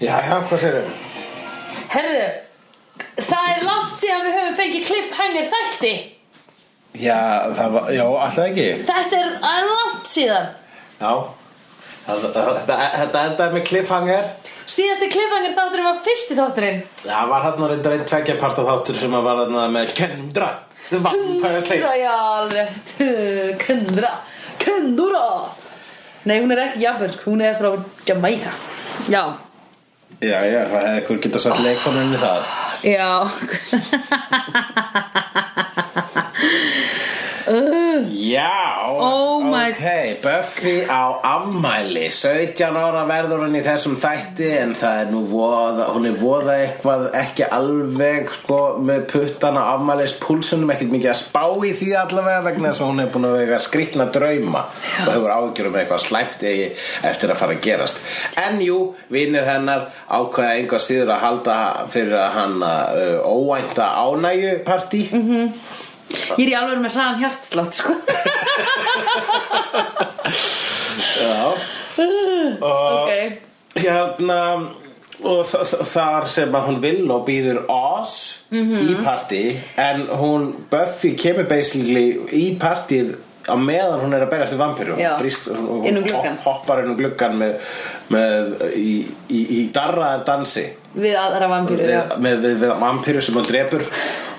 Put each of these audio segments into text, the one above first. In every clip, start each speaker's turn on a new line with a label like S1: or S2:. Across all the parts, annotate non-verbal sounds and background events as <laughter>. S1: Já, já, hvað sérum?
S2: Herðu, það er langt síðan við höfum fengið cliffhanger þætti
S1: Já, það var, já, alltaf ekki
S2: Þetta er, það er langt síðan
S1: Já Það- það- Þetta þetta endaði með cliffhanger
S2: Síðasti cliffhanger þátturinn var fyrsti þátturinn
S1: Það var hann orðin reynd tveggja parta þáttur sem að var hann með Kennum drag The Vampire
S2: Kundra,
S1: Slayer
S2: já, alveg Kundra, kundura Nei, hún er ekki japansk, hún er frá Jamaica Já,
S1: Já, já, hvað hefði hver geta sagt leikonunni það
S2: já
S1: Já,
S2: Oh my-
S1: ok, Buffy á afmæli, 17 ára verður hún í þessum þætti en það er nú voða, hún er voða eitthvað ekki alveg sko með puttana á afmælis púlsunum ekkert mikið að spá í því allavega vegna þess að hún er búin að vega skrýtna drauma og hefur ágjur um eitthvað slæmt eigi eftir að fara að gerast. En jú, vinnir hennar ákvæða einhvað síður að halda fyrir að hanna uh, óvænta ánægjupartí. Mm -hmm.
S2: Ég er í alveg með hraðan hjartslátt, sko
S1: Já.
S2: <laughs> Ok,
S1: hérna og þ- þ- þar sem að hún vill og býður Oz
S2: Mhm.
S1: í partí en hún Buffy kemur basically í partíð á meðan hún er að berjast við vampíru
S2: Já. Inn um gluggann.
S1: hoppar inn um gluggan með, með í, í, í darraðar dansi
S2: við aðra vampýru, já
S1: með, með, við, við vampíru sem hún drepur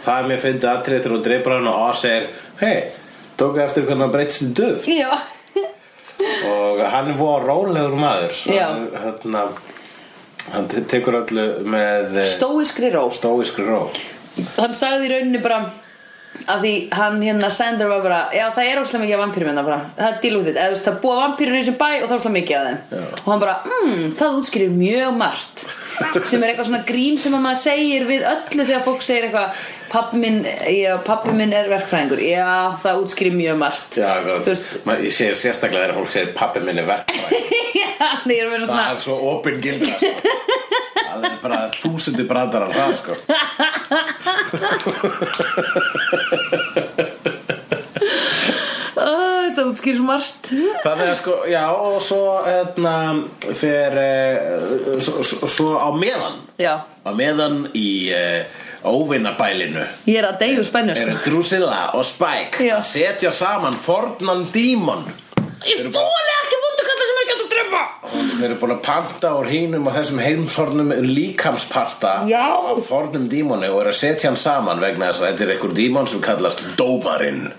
S1: það er mér fyndið atrið þegar hún drepur hann og Oz segir hei, tóku eftir hvernig hann breytst í döf
S2: Já,
S1: og hann er voða rólegur maður
S2: Já.
S1: hann, hérna, hann te- tekur öllu með eh,
S2: stóiskri ró
S1: stóískri ró
S2: hann sagði í rauninni bara að því hann hérna Sander var bara já það er óslega mikið af vampýrum hérna bara það er dilúðið, eða þú veist það búa vampýrur í þessum bæ og það er óslega mikið af þeim
S1: Já.
S2: og hann bara, mmm, það útskýrir mjög margt sem er eitthvað svona grín sem að maður segir við öllu þegar fólk segir eitthvað pappi minn, já, pappi minn er verkfræðingur já, það útskýrir mjög margt <laughs>
S1: Já, ég
S2: þú
S1: veit,
S2: veist,
S1: ma- ég sé sérstaklega þegar fólk segir pappi minn er verkfræði
S2: já, nei, ég er að meina <laughs>
S1: það
S2: svona
S1: er svo opinn gildra
S2: <laughs>
S1: sko. það er bara þúsundir brandar af það sko.
S2: "Ó, þetta útskýrir svo margt
S1: Þannig að sko, já, og svo hérna, fer eh, svo, svo, svo á meðan
S2: já,
S1: á meðan í eh, óvinnabælinu
S2: ég er að deyju spennur
S1: eru Drusilla og Spike
S2: Já.
S1: að setja saman fornan dímon
S2: ég þóli ekki vondukalla sem er gætt að drepa
S1: Þeir eru búin að panta úr hínum og þessum heimshornum líkamsparta
S2: Já.
S1: af fornum dímoni og eru að setja hann saman vegna þess að þetta er einhver dímon sem kallast Dómarinn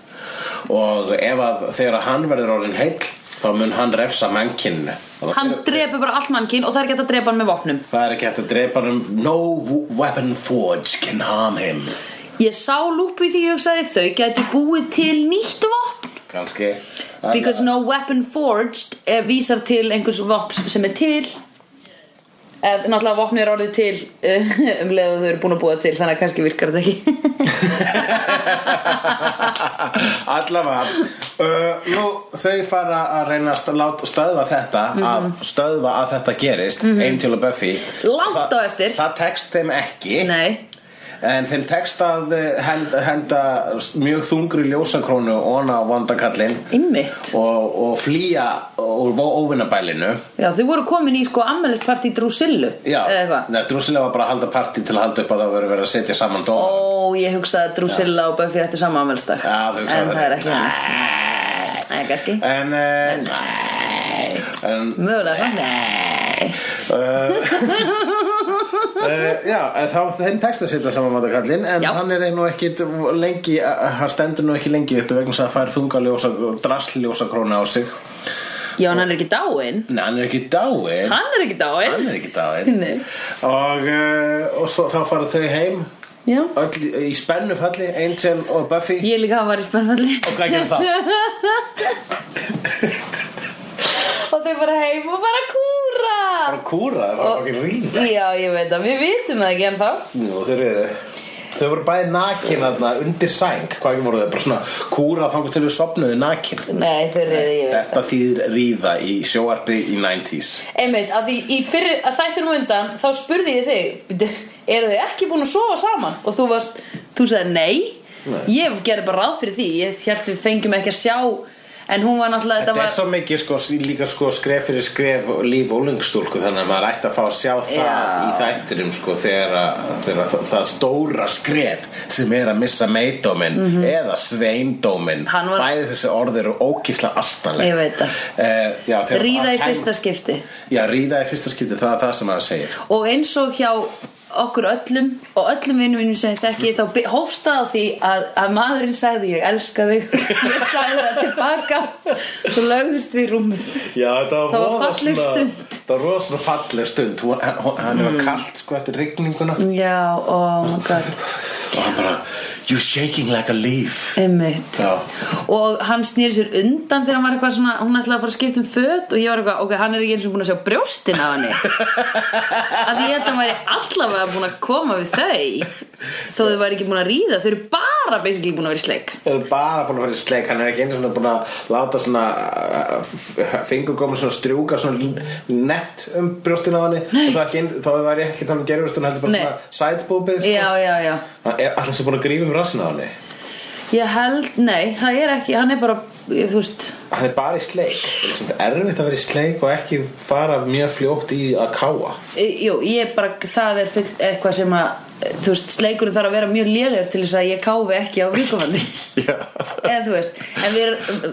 S1: og ef að þegar hann verður orðin heill þá mun hann refsa mannkinn
S2: Hann drepur bara allt mannkinn og það er ekki hægt að drepa hann með vopnum
S1: Það er ekki hægt að drepa hann No weapon forged can harm him
S2: Ég sá lúpi því ég hugsaði þau gætu búið til nýtt vopn
S1: Kanski
S2: Because no weapon forged eh, vísar til einhvers vopns sem er til Eð, Náttúrulega vopni er orðið til eh, <laughs> um leið og þau eru búin að búa til þannig að kannski virkar þetta ekki
S1: <laughs>
S2: <laughs>
S1: Allavega uh, Nú, þau fara að reyna að st- láta- stöðva þetta
S2: Mhm.
S1: að stöðva að þetta gerist Angel og Buffy
S2: Langt á eftir.
S1: Það tekst þeim ekki
S2: Nei,
S1: En þeim tekst að uh, henda, henda mjög þungri ljósakrónu óna á vondakallinn
S2: einmitt
S1: og, og flýja úr óvinnabælinu
S2: Já, þau voru komin í sko ammælisparti í Drusillu
S1: Já,
S2: Eða eitthvað
S1: neða, Drusilla var bara að halda partí til að halda upp að það verið verið að setja saman dóma
S2: Ó, ég hugsaði að Drusilla og Buffy ættu sama ammælisdag
S1: Já, þau hugsaðu
S2: En það er
S1: það.
S2: ekki þannig. Nei, kannski
S1: En, uh,
S2: Nei,
S1: en
S2: mögulega það Nei
S1: <laughs> Uh, eh, já, en þá þeim tekst að setja saman matakallinn en
S2: Já.
S1: hann er nú ekki lengi eh, hann stendur nú ekki lengi uppi vegna þess að það fær þungaljósa, drasljósa krónu á sig
S2: Já, en hann er ekki dáinn
S1: Nei, hann er ekki dáin
S2: Hann er ekki dáinn
S1: Hann er ekki dáin
S2: Nei.
S1: og, uh, og svo, þá fara þau heim
S2: Já
S1: öll í spennu falli Angel og Buffy
S2: Ég líka hafa verið spennfalli
S1: og hvað gerir
S2: <laughs>
S1: það?
S2: Og þau bara heim og bara kúra
S1: bara kúra, það var ekki rín
S2: Já, ég veit það, við vitum það ekki ennþá
S1: og þau reyðu Þau voru bæði nakin þarna undir sæng Hvað voru þau? Bara svona kúra þangur til við sopnuðu nakin
S2: Nei, þau reyðu, ég veit
S1: Þetta þýðir ríða í sjóarpi í 90s
S2: það Einmitt, að því í fyrir að þættinum á undan Þá spurði ég þig "Bíddu, Eru þau ekki búin að sofa saman? Og þú varst, þú sagði nei,
S1: Nei.
S2: Ég gerði bara ráð fyrir því Ég held við fengjum ekki að sjá en hún var náttúrulega
S1: Þetta
S2: var,
S1: er svo mikið sko, líka sko, skref fyrir skref líf og lungstúlku þannig að maður ætti að fá að sjá það
S2: Já.
S1: í þættinum sko, þegar, að, þegar að, það, það stóra skref sem er að missa meidómin eða sveindómin
S2: Mhm. Hann var-
S1: bæði þessi orð eru ókísla astanleg Eh,
S2: Ég veit það.
S1: það
S2: ríða í fyrsta skipti
S1: Já, ríða í fyrsta skipti, það er það sem maður segir
S2: og eins og hjá okkur öllum og öllum vinnum mínum sem ég þekki þá by- hófst það á því að, að maðurinn sagði ég elska þig <laughs> ég sagði það tilbaka svo lögðust við í rúmið
S1: Já, þetta var,
S2: Það var
S1: voða
S2: falleg
S1: svona-
S2: stund. Mm.
S1: Það var rosa svona falleg stund Hún- Hann, hún- hann var kalt sko eftir rigninguna
S2: já, oh my god
S1: og hann bara You're shaking like a leaf
S2: einmitt
S1: Já,
S2: og hann snýri sér undan þegar hann var eitthvað svona hún ætlaði að fara að skipta um föt og ég var eitthvað, ok, hann er ekki eins og búin að sjá brjóstin af henni að ég held að hann væri allavega búin að koma við þau þó þau væri ekki búin að ríða þau eru bara basically búin að vera í sleik
S1: Það er bara búin að vera í sleik, hann er ekki einu svona búin að láta svona uh, f- f- fingurgóma svona strjúka svona nett um brjóstin á henni
S2: Nei.
S1: og það ekki, einu- þá var ég ekki þannig gerur hann heldur bara
S2: Nei.
S1: svona sætbúbið sko.
S2: já, já, já
S1: Hann er alltaf sem búin að grífa um rassin á henni
S2: Ég held, nei, það er ekki, hann er bara, ég, þú veist
S1: Hann er bara í sleik, það er svona erfitt að vera í sleik og ekki fara mjög fljótt í að káa
S2: e, Jú, ég bara, það er full eitthvað sem að, e, þú veist, sleikurinn þarf að vera mjög lélegur til þess að ég káfi ekki á vikumandi
S1: Já
S2: Eða þú veist, en við erum e,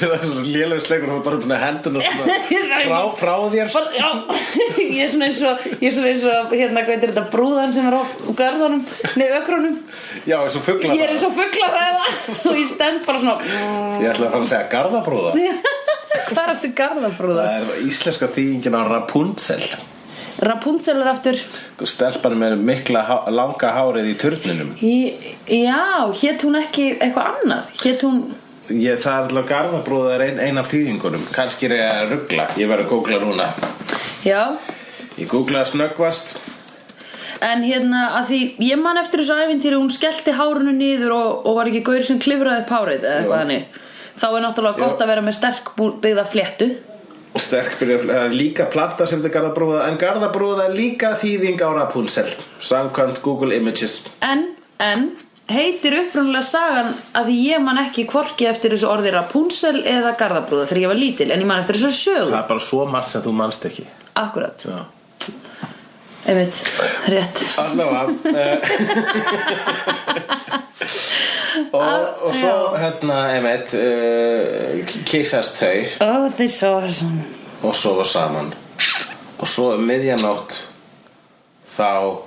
S1: Það er svona lélegur sleikur og bara búin að henduna
S2: <laughs>
S1: svona frá, frá þér
S2: bara, já, <laughs> Ég er svona eins og, ég er svona eins og, hérna, hvað heitir þetta, brúðan sem er á garðanum, nei, ökrunum
S1: Já, eins og fuglar
S2: Ég er eins og fugglaræða <laughs> og ég stend bara svona <laughs> mm,
S1: Ég ætla að fara að segja garðabróða
S2: Það er eftir garðanfrúða
S1: Það er íslenska þýðingin á Rapunzel
S2: Rapunzel er aftur
S1: Sko, Stelpan með mikla há- langa hárið í turninum
S2: Í- Já, hétt hún ekki eitthvað annað Hétt hún,
S1: Ég, það er alltaf garðabróða er ein, ein af þýðingunum Kannski er ég að ruggla Ég verð að googla núna
S2: já
S1: Ég googla snöggvast
S2: En hérna, að því ég man eftir þessu æfintýri Hún skellti hárunu niður og, og var ekki gaur sem klifraði upp hárið eða
S1: Jú.
S2: eitthvað þannig Þá er náttúrulega gott
S1: Jú.
S2: að vera með sterk bú- byggða fléttu
S1: Og sterk byrja það er líka plata sem þetta er garðabróða En garðabróða er líka þýðing á Rapunzel Samkvæmt Google Images
S2: En, en, heitir upprunalega sagan að því ég man ekki hvorki eftir þessu orði Rapunzel eða Garðabrúða þegar ég var lítil En ég man eftir þessu sögu,
S1: Það er bara svo margt sem þú manst ekki
S2: akkurat
S1: Já
S2: Einmitt, rétt
S1: Allavega eh, <laughs> og, og svo hérna einmitt uh, kissast þau
S2: Ó, þeir sá þessum
S1: og sofa saman og svo um miðjanótt þá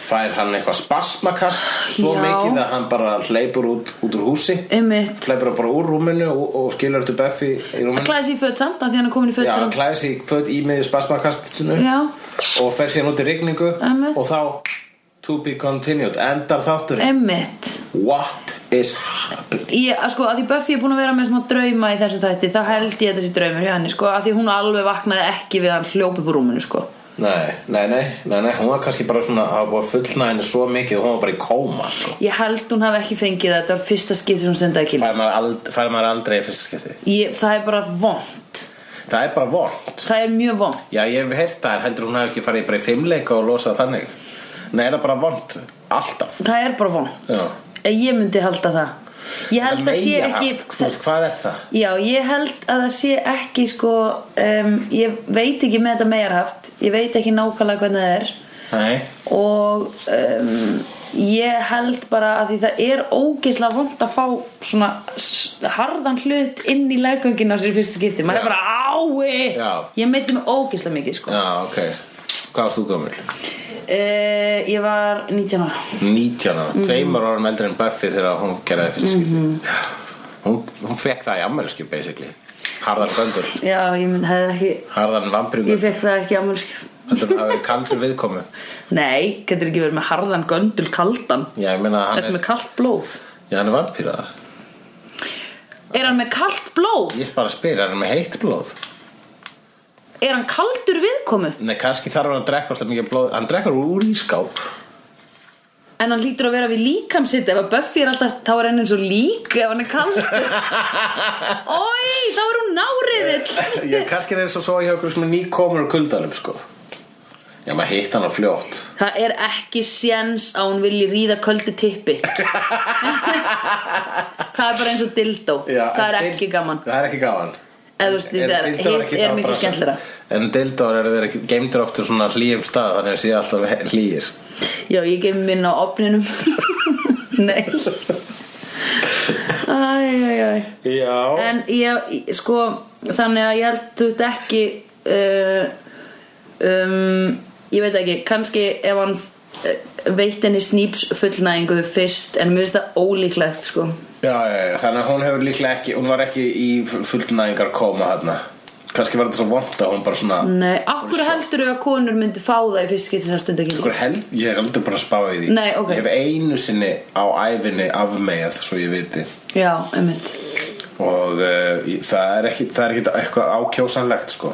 S1: fær hann eitthvað spasmakast svo
S2: Já.
S1: mikið að hann bara hleypur út, út úr húsi
S2: Einmitt
S1: hleypur bara úr rúminu og, og skilur til Buffy í rúminu
S2: Klæði sér í föt samt af því hann er komin í föt
S1: Já, hann klæði sig í föt í miðju spasmakastinu
S2: Já.
S1: og fer síðan út í rigningu
S2: Einmitt.
S1: og þá to be continued endar þátturinn
S2: Einmitt
S1: What is happening?
S2: Ég, að sko, að því Buffy er búin að vera með smá drauma í þessu þætti, þá held ég að þessi draumur hjá henni, sko, að því hún alveg vaknaði ekki við að hann hljóp upp úr rúminu, sko.
S1: Nei, nei, nei, nei, nei, hún var kannski bara svona að búið að fullna henni svo mikið og hún var bara í kóma sko.
S2: Ég held hún hafi ekki fengið það, þetta var fyrsta skipti sem hún stundaði kynni.
S1: fær, maður ald, fær maður aldrei í fyrsta skipti
S2: Ég, það er bara vond.
S1: Það er bara vond
S2: Það er mjög vond.
S1: Já, ég hef heyrt það en heldur hún hafi ekki farið bara í fimmleika og losað þannig Nei, er það bara vond Alltaf
S2: Það er bara vond.
S1: Já.
S2: En Ég myndi halda það. Ég held að sé
S1: Meira
S2: ekki...
S1: haft, þú veist, Hvað er það?
S2: Já, ég held að það sé ekki, sko, um, ég veit ekki með þetta megarhaft, ég veit ekki nákvæmlega hvernig það er.
S1: Nei
S2: og um, ég held bara að því það er ógeðslega vond að fá svona s- harðan hlut inn í leggöngin á sér í fyrsta skipti, maður
S1: Já.
S2: er bara ái
S1: Já.
S2: ég meiti mig ógeðslega mikið sko.
S1: Já, ok Hvað varst þú gömul?
S2: uh, ég var 19 ára
S1: 19 ára,
S2: Mhm.
S1: tveimur árum eldri en Buffy þegar hún gerði fyrst skipti hún, hún fekk það í ammælskip basically, harðan göndur
S2: já, ég mynd, hefði ekki
S1: harðan
S2: ég
S1: vampringur
S2: fekk það ekki ámjölskip
S1: heldur hún hafi kaldur viðkomu
S2: nei, getur ekki verið með harðan göndul kaldan
S1: já, ég meina að hann
S2: Ertu
S1: er,
S2: með kalt blóð?
S1: já, hann er vampíra
S2: Er hann með kalt blóð?
S1: ég er bara að spyrja, hann er með heitt blóð
S2: Er hann kaldur viðkomu?
S1: nei, kannski þarf hann að drekka alltaf mikið blóð hann drekkar úr ískáp
S2: En hann lítur að vera við líkam sitt Ef að Buffy er alltaf, þá er henni eins og lík Ef hann er
S1: <laughs>
S2: kaldur Ói, þá er hún náriðill
S1: ég kannski er eins og svo hjá okkur sem er nýkomur úr kuldanum sko Já, maður hitt hana fljótt
S2: Það er ekki séns að hún vilji ríða köldu tippi Það er bara eins og dildó
S1: Já,
S2: Það er
S1: en
S2: ekki
S1: deil-
S2: gaman
S1: Það er ekki gaman
S2: Eða þú veist, það er-
S1: deildóar
S2: hitt er
S1: það
S2: miklu
S1: bara-
S2: skemmtilegra.
S1: En deildóar eru þeir geimdur oft úr svona hlýjum stað Þannig að sé alltaf hlýjir
S2: Já, ég gef minn á opninum <laughs>
S1: <laughs>
S2: Nei Æ, æ, æ
S1: Já
S2: En ég, sko Þannig að ég held þú þetta ekki uh, um, Ég veit ekki kannski ef hann eh, veitt henni snýps fullnæðingu fyrst En mér finnst það ólíklegt, sko
S1: Já, já, já, þannig að hún hefur líklega ekki Hún var ekki í fullnæðingar koma þarna Kannski var þetta svo vont að hún bara svona
S2: Nei, eh, af hverju heldur að konur myndi fá það í fyrst skipti sem stundakynning?
S1: Hver held, ég er aldrei bara að spá í því
S2: Nei, ok.
S1: Ég hef einu sinni á æfinni afmegjað Svo ég viti
S2: Já, einmitt
S1: Og uh, það er ekki, það er ekki eitthvað ákjósanlegt sko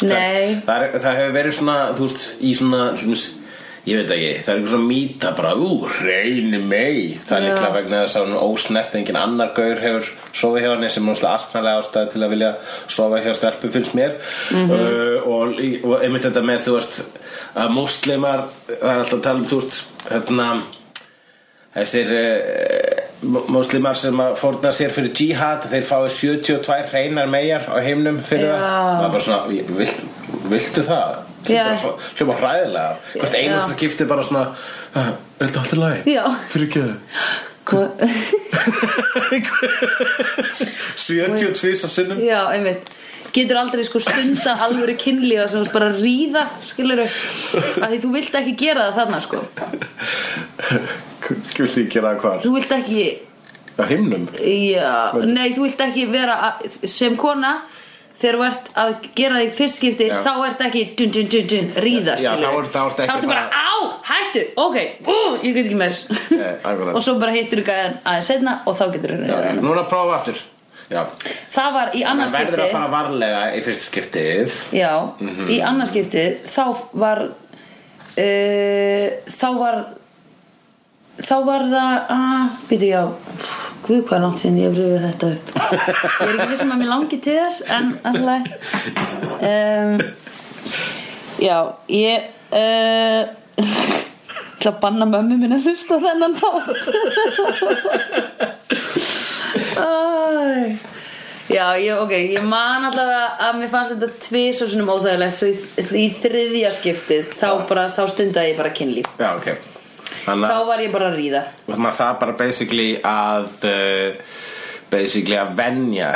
S2: Nei,
S1: það, er, það hefur verið svona, þú veist, í svona, svona ég veit ekki, það er eitthvað svona mýta bara, ú, reyni mei það er
S2: Já.
S1: líklega vegna þess að hún ósnert engin annar gaur hefur sofið hjá henni sem hún slag astnalega ástæði til að vilja sofa hjá stelpu finnst mér
S2: Mhm.
S1: uh, og, og einmitt þetta með, þú veist að múslimar, það er alltaf að tala um þú veist, hérna þessir uh, múslimar sem að fórna sér fyrir jihad þeir fái 72 reynar megar á heimnum fyrir
S2: Já.
S1: það það er bara svona, ég- vilt, viltu það?
S2: Já.
S1: hljóma hræðilega hvert
S2: Já.
S1: einasta skipti bara svona "Ah, er þetta alltaf lagi?
S2: Já.
S1: fyrir ekki
S2: hvað-
S1: 72 að sinnum
S2: <laughs> já, einmitt Getur aldrei sko stunda alvöru kynlífa sem þú ert bara að ríða, skilur að því þú vilt ekki gera það þarna sko
S1: vilt þið gera það hvar?
S2: Þú vilt ekki,
S1: á heimnum?
S2: já,
S1: Veit.
S2: nei, þú vilt ekki vera að, sem kona þegar þú ert að gera þig fyrst skipti
S1: Já.
S2: þá ert ekki dun, dun, dun, dun, ríða
S1: Já,
S2: skilurðu.
S1: þá ert- þá ertu ekki
S2: bara,
S1: bara-
S2: á, hættu, ok, ú, ég get ekki meir
S1: Nei, Eh, akkurat.
S2: <laughs> og svo bara hittur þú gæðan aðeins setna og þá getur þú
S1: Já,
S2: ríða
S1: núna prófa aftur já
S2: það var í
S1: Það verður að
S2: annarskipti
S1: fara varlega í fyrsta skiptið
S2: Já, í annarskipti þá var uh, þá var þá var það að, býtu já guð hvað er langt sinni ég rifið þetta upp ég er ekki vissum að mér langi til þess en alltaf um, já, ég uh, ætla að banna mömmu minna að hlusta á þennan þátt Æ. Já, ég, ok, ég man allavega að mér fannst þetta tvis og svona óþægilegt svo í, í þriðja skiptið þá, bara, þá stundaði ég bara kynlíf
S1: já, ok Þannig að-
S2: þá var ég bara að ríða
S1: og maður það bara basically að uh, basically að venja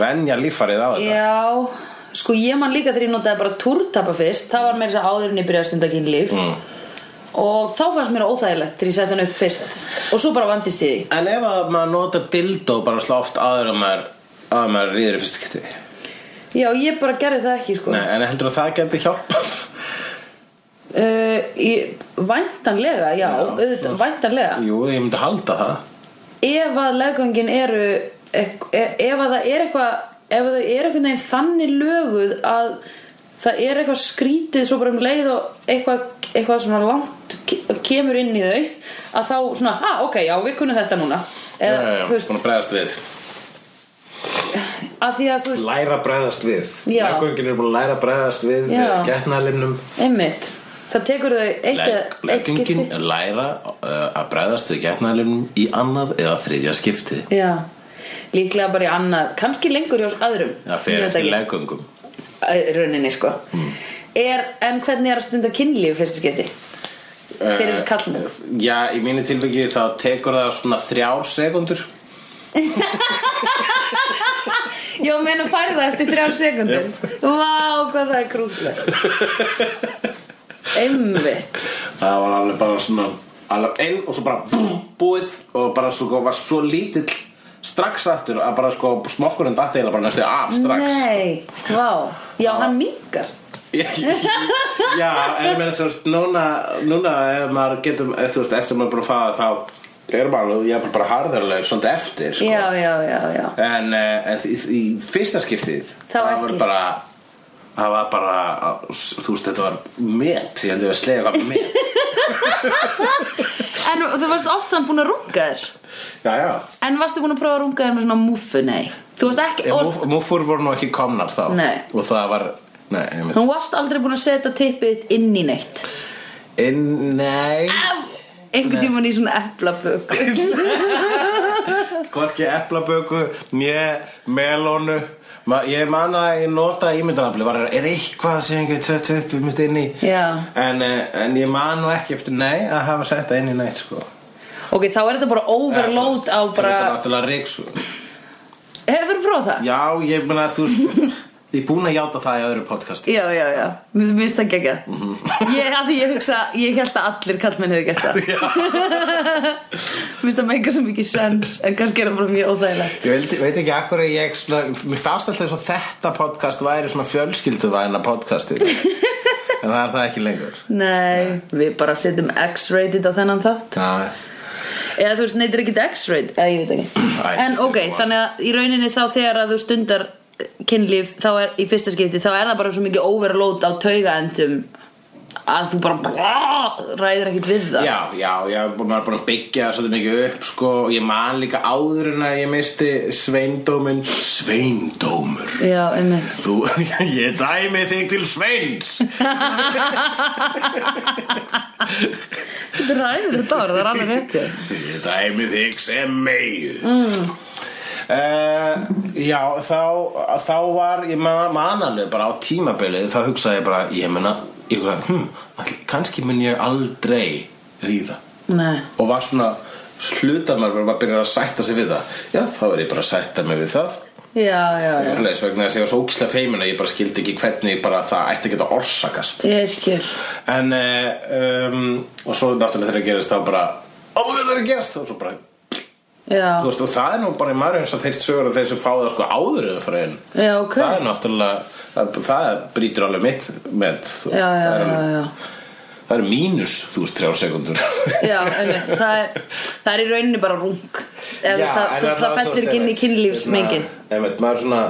S1: venja líffarið á þetta
S2: Já, sko ég man líka þegar ég notaði bara túrtapa fyrst það var meira þess að áður en ég byrjaði að stunda kynlíf
S1: Mm.
S2: og þá fannst mér óþægilegt þegar ég sett hann upp fyrst og svo bara vandist ég því
S1: en ef að maður nota dildó bara slá oft áður að maður að maður rýður í fyrsta skipti
S2: Já, ég bara gerði það ekki sko
S1: Nei, en heldur að það geti hjálpað
S2: uh, ég, Væntanlega, já,
S1: Já,
S2: auðvitað, væntanlega
S1: <laughs> jú, ég myndi halda það
S2: ef að leggöngin eru ek- e- ef að það er eitthvað ef þau eru einhvern veginn þannig löguð að það er eitthvað skrítið svo bara um leið og eitthvað, eitthvað svona langt ke- kemur inn í þau að þá svona, ah ok, já við kunnum þetta núna eða,
S1: já, já,
S2: þú veist,
S1: búin að bregðast við
S2: að því að þú veist
S1: læra að bregðast við
S2: Já.
S1: leggöngin er búin að læra að bregðast við eh,
S2: Já.
S1: getnaðlimnum
S2: einmitt, það tekur þau eitt, eða- eitt
S1: leggöngin
S2: skipti
S1: er læra uh, að bregðast við getnaðlimnum í annað eða þriðja skipti
S2: já, líklega bara í annað kannski lengur hjá öðrum
S1: Já,
S2: Ég
S1: fyrir
S2: veit
S1: eftir
S2: ekki.
S1: Hmm. leggöngum
S2: Í rauninni sko er, en hvernig er að stunda kynlíf í fyrsta skipti fyrir
S1: Eh,
S2: kallinu
S1: Já, í mínu tilviki þá tekur það svona þrjár sekundur
S2: já, menn að færi það eftir þrjár sekundur vá, hvað það er krúklegt einmitt
S1: Það var alveg bara svona alveg inn og svo bara vum, búið og bara svo sko, var svo lítill strax aftur að bara sko smokkurinn datt eiginlega bara næstu af strax <laughs>
S2: nei, vá, já, hann mingar
S1: Já, en ég meina þú veist núna, núna ef maður getum ef, þú veist, eftir maður búin að fara þá er maður alveg, ég er bara harðarlega svolítið eftir sko.
S2: já, já, já, já
S1: en, eh, en í, í fyrsta skiptið
S2: Þá
S1: var
S2: ekki.
S1: bara það var bara, þú veist þetta var met, ég held ég að slega hvað met
S2: <laughs> en þú varst oft samt búin að runga þér
S1: já, já,
S2: en varstu búin að prófa að runga þér með svona múfu, nei þú varst ekki,
S1: Ég,
S2: og,
S1: múf, múfur voru nú ekki komnar þá
S2: Nei.
S1: og það var Nei, einmitt.
S2: Þú varst aldrei búin að setja tippið þitt inn í neitt
S1: Inn, nei
S2: Einhvern tímann í svona eplaböku
S1: Hvorki eplaböku, njö, melónu Ma, Ég man að ég nota ímyndanafli var, Er eitthvað sem ég get sett upp mitt inn í
S2: Já.
S1: en, eh, en ég man nú ekki eftir nei að hafa sett það inn í neitt sko
S2: Ok, þá er þetta bara overload á bara
S1: Þetta er náttúrulega ríksu
S2: Hefur prófað það?
S1: Já, ég meina þú
S2: <laughs>
S1: Ég er búin að játa það í öðru podcasti
S2: Já, já, já, mér finnst það geggjað
S1: Mhm.
S2: Ég, að því ég hugsa, ég held að allir kallmenn hefur gert það <laughs> Mér finnst það meika svo mikið sens En kannski er það bara mjög óþægilegt
S1: Ég veit, veit ekki akkur að ég svona, Mér fannst alltaf eins og þetta podcast væri svona fjölskylduvæna podcasti En það er það ekki lengur
S2: Nei, við bara setjum X-rated á þennan þátt
S1: Já,
S2: Eða þú veist, nei, þetta er ekkit X-rated Eða ég veit
S1: Æ,
S2: ekki En ok,
S1: þetta er
S2: þannig að í rauninni þá þegar að þú stundar kynlíf Þá er í fyrsta skipti, þá er það bara svo mikið overload á taugaendum Að þú bara ræður ekkit við það
S1: Já, já, já, maður er búin að byggja það svolítið mikið upp, sko, og ég man líka áður en að ég misti sveindóminn Sveindómur
S2: já einmitt
S1: Þú, <laughs> ég dæmi þig til sveins
S2: Þetta er ræður þetta orð, það er alveg rétt já.
S1: Ég dæmi þig sem megu mm. Já, þá, þá var ég man, man alveg bara á tímabilið þá hugsaði ég bara, ég meina ég hugsaði, hm, all- kannski mun ég aldrei ríða
S2: Nei
S1: og var svona hluta maður var að byrja að sætta sig við það já, þá er ég bara að sætta mig við það
S2: Já, já, já
S1: Leis, vegna þess að ég var svo ógislega feimin að ég bara skildi ekki hvernig bara það ætti að geta orsakast
S2: Ég skil
S1: en eh, um, og svo náttúrulega þegar það gerist þá bara ó, hvað það er að gerast og svo bara
S2: Já,
S1: Þú veist, og það er nú bara í maður eins og þeir sögur að þeir sem fá það sko áður eða fara inn
S2: já, ok
S1: það er náttúrulega það, það brýtur alveg mitt með, þú
S2: Já, já,
S1: veist, það, er,
S2: já, já
S1: það er mínus þú veist þrjá sekundur
S2: Já, einmitt,
S1: <laughs>
S2: það er, það er í rauninni bara rung Eða þú veist, það, það, það fellur ekki
S1: hérna-
S2: inn í kynlífsmengin
S1: einmitt, maður svona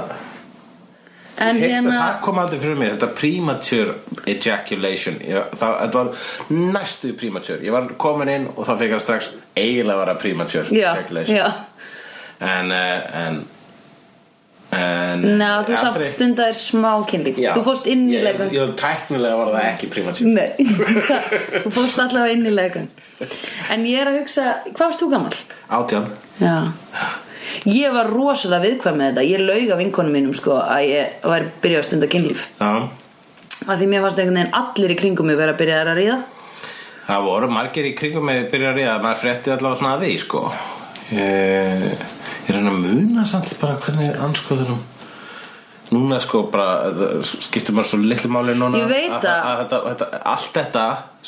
S2: En
S1: Hitt,
S2: hérna,
S1: það kom aldrei fyrir mig, þetta premature ejaculation ég, það, þetta var næstu premature ég var komin inn og þá fekk það strax eiginlega að vera premature
S2: já,
S1: ejaculation
S2: já
S1: en eh, en, en
S2: Ná, þú samt
S1: aldrei-
S2: stundaðir smá kynlíf
S1: Já.
S2: Þú fórst inn í
S1: Ég-
S2: legun
S1: ég- Tæknilega var það ekki primatíf
S2: Nei, <laughs> þú fórst allavega inn í legun En ég er að hugsa, hvað varst þú gamall?
S1: Átján
S2: Já Ég var rosalega viðkvæm með þetta Ég laug af vinkonum mínum sko að ég var byrjað að stunda kynlíf
S1: Já
S2: að því mér fannst einhvern veginn allir í kringum mig vera að byrja að ríða
S1: Það voru margir í kringum með byrjar í að maður frétti allavega svona að því sko Ég, ég reyna að muna samt bara hvernig anskoðunum Núna sko bara það skiptir maður svo litlu máli núna
S2: Ég veit
S1: að,
S2: það.
S1: að, þetta, þetta, Allt þetta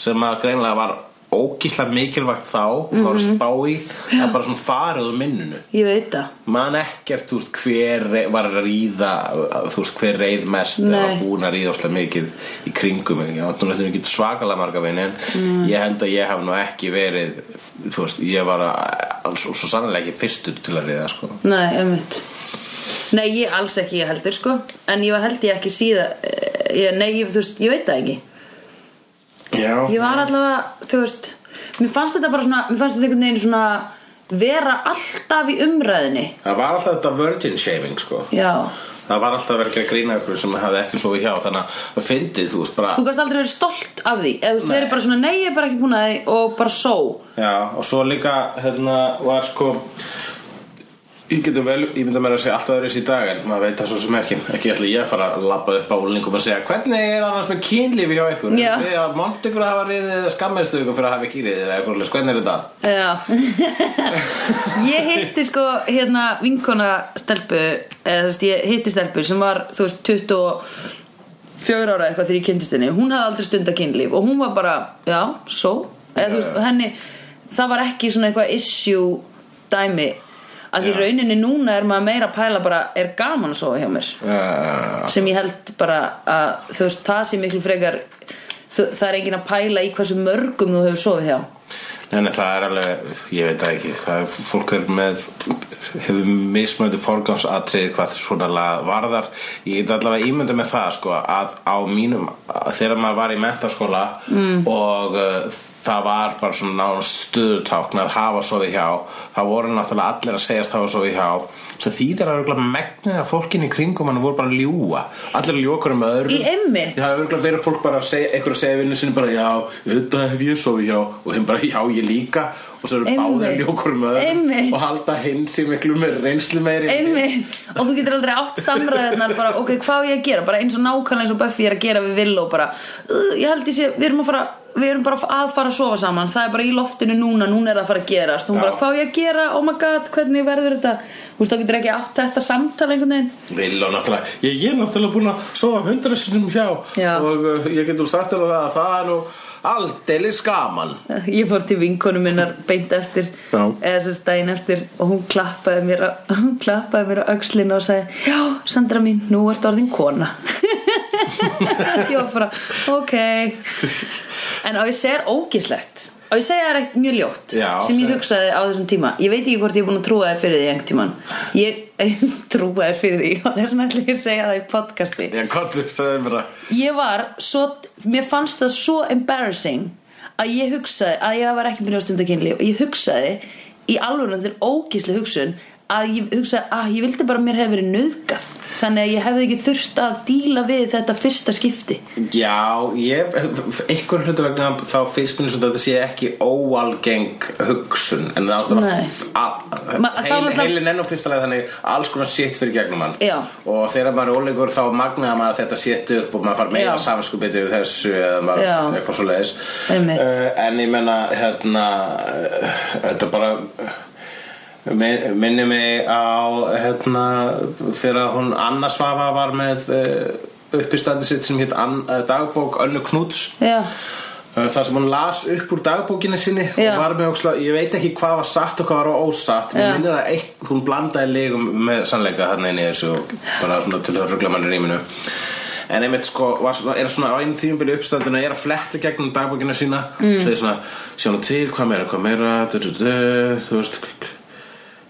S1: sem að greinlega var ógíslega mikilvægt þá mm
S2: Mhm.
S1: var að spá í það er bara svona farið úr minnunu
S2: ég veit það
S1: man ekkert þú veist hver re- var að ríða þú veist hver reið mest
S2: Nei.
S1: eða var búin að ríða óslega mikið í kringum mig ég átti náttúrulega ekki svakalega marga vini en
S2: Mm.
S1: ég held að ég hef nú ekki verið þú veist ég var að svo, svo sannlega ekki fyrstur til að ríða sko
S2: Nei, einmitt Nei, ég alls ekki ég heldur sko en ég var held ég ekki síða eh, ég, Nei, ég, þú veist, ég veit það ekki
S1: já,
S2: Ég var allavega, þú veist Mér fannst þetta bara svona, mér fannst þetta einhvern veginn svona vera alltaf í umræðinni
S1: það var alltaf þetta virgin shaving sko
S2: Já,
S1: það var alltaf verið að grína ykkur sem hafði ekki svo hjá þannig að það fyndið þú veist bara
S2: þú gast aldrei verið stolt af því eða þú veist, verið bara svona, nei, ég er bara ekki búin að því og bara só
S1: Já, og svo líka hérna var sko ég getum vel, ég mynda mér að segja alltaf öðruvísi í dag en maður veit það svo sem ekki ekki ætla ég að fara að labba upp á úlingum og segja hvernig er annars með kynlífi hjá ykkur
S2: Já.
S1: því að monti ykkur að hafa riðið eða skammiðstu ykkur fyrir að hafa ekki riðið eða ykkur leys, hvernig er þetta?
S2: Já <laughs> Ég hitti sko hérna vinkona stelpu eða þú veist, ég hitti stelpu sem var þú veist 24 ára eitthvað þegar ég kynntist henni hún hafði aldrei stunda kynlíf og hún var bara já, svo eða þú veist,
S1: Já, já.
S2: henni það var ekki svona eitthvað issue dæmi að því
S1: Já.
S2: rauninni núna er maður meira að pæla bara er gaman að sofa hjá mér
S1: Uh,
S2: sem ég held bara að þú veist, það sé miklu frekar þú- það er engin að pæla í hversu mörgum þú hefur sofið hjá
S1: Nei, nei, það er alveg, ég veit það ekki það er, fólk er með hefur mismöndu forgangsatrið hvað svona lag varðar ég get allavega ímynda með það sko að á mínum, að þegar maður var í mentaskóla mm. og uh, það var bara svona nánast stöðutákn að hafa sofið hjá það voru náttúrulega allir að segjast hafa sofið hjá sem þýðir að örgulega megnið að fólkin í kringum hann voru bara að ljúa allir að ljókur um öðrum
S2: Í einmitt.
S1: Já, það hefur örugglega verið fólk bara að segja einhver að segja vinnu sinni bara já, þetta hef ég sofið hjá og hinn bara já, ég líka og svo eru
S2: Einmitt.
S1: báðir ljókur um öðrum
S2: Einmitt.
S1: og halda hinn sem miklu meir reynslu meiri
S2: Einmitt. og þú getur aldrei átt samræðunar bara ok, hvað á ég að gera, bara eins og nákvæmlega eins og Buffy er að gera við Will og bara "Ugh, ég held ég sé, við erum að fara við erum bara að fara að sofa saman, það er bara í loftinu núna núna er það að fara að gerast, hún
S1: Já.
S2: bara hvað á ég að gera, oh my god, hvernig verður þetta þú veist, þá getur ekki átt þetta samtal einhvern veginn
S1: Vill og náttúrulega, ég, ég er náttúrulega búin að sofa hundra sinnum hjá
S2: Já.
S1: og uh, ég getur sagt alveg það að það er nú aldeilis gaman
S2: <laughs> Ég fór til vinkonu minnar beint eftir
S1: Já.
S2: eða sem stæðin eftir og hún klappaði mér á, <laughs> hún klappaði mér á öxlinu og sagði Já, Sandra mín, nú ertu orðin kona <laughs> Ég var bara, ok En á ég segja er ógislegt á ég segja er eitt mjög ljótt
S1: Já,
S2: sem ég
S1: segðu.
S2: hugsaði á þessum tíma Ég veit ekki hvort ég er búin að trúa þér fyrir því einhvern tíman Ég <laughs> trúa þér fyrir því og þess vegna ætla ég að segja það í podcasti
S1: Ég gott, sagði mér að
S2: Ég var svo, mér fannst það svo embarrassing að ég hugsaði að ég var ekki byrjað að stunda kynlíf og ég hugsaði í alveg þetta er ógísli hugsun að ég hugsaði að ég vildi bara að mér hefði verið nöðgað þannig að ég hefði ekki þurft að díla við þetta fyrsta skipti
S1: Já, ég, einhver hlutu vegna þá finnst mér svona að þetta sé ekki óalgeng hugsun en það
S2: Nei.
S1: er
S2: Ma-
S1: náttúrulega
S2: þá
S1: heil,
S2: náttúrulega-
S1: heilin enn og fyrstalega þannig alls konar sitt fyrir gegnum hann
S2: Já.
S1: og þegar maður er óleikur þá magnaði maður þetta sitt upp og maður far meira
S2: Já.
S1: samskupið yfir þessu eða maður
S2: Já.
S1: eitthvað svo leiðis
S2: Einmitt.
S1: en ég menna hérna, uh, þetta bara uh, Min- minni mig á hérna, þegar hún Anna Svava var með uh, uppistandi sitt sem hétt Ann- eh, dagbók Önnu Knúts
S2: Já,
S1: eh, þar sem hún las upp úr dagbókinni sinni
S2: Já.
S1: og var með óksla, ég veit ekki hvað var satt og hvað var ósatt
S2: Já.
S1: mér minnir að eitt, hún blandaði legum með sannleika þarna inn í þessu og bara svona til að rugla manni rýminu en einmitt sko, var, svona- er svona á einu tímubili uppstandinu er að fletta gegnum dagbókina sína mm. segir svona, sjá nú til, hvað meira, hvað meira du, du, du, þú veist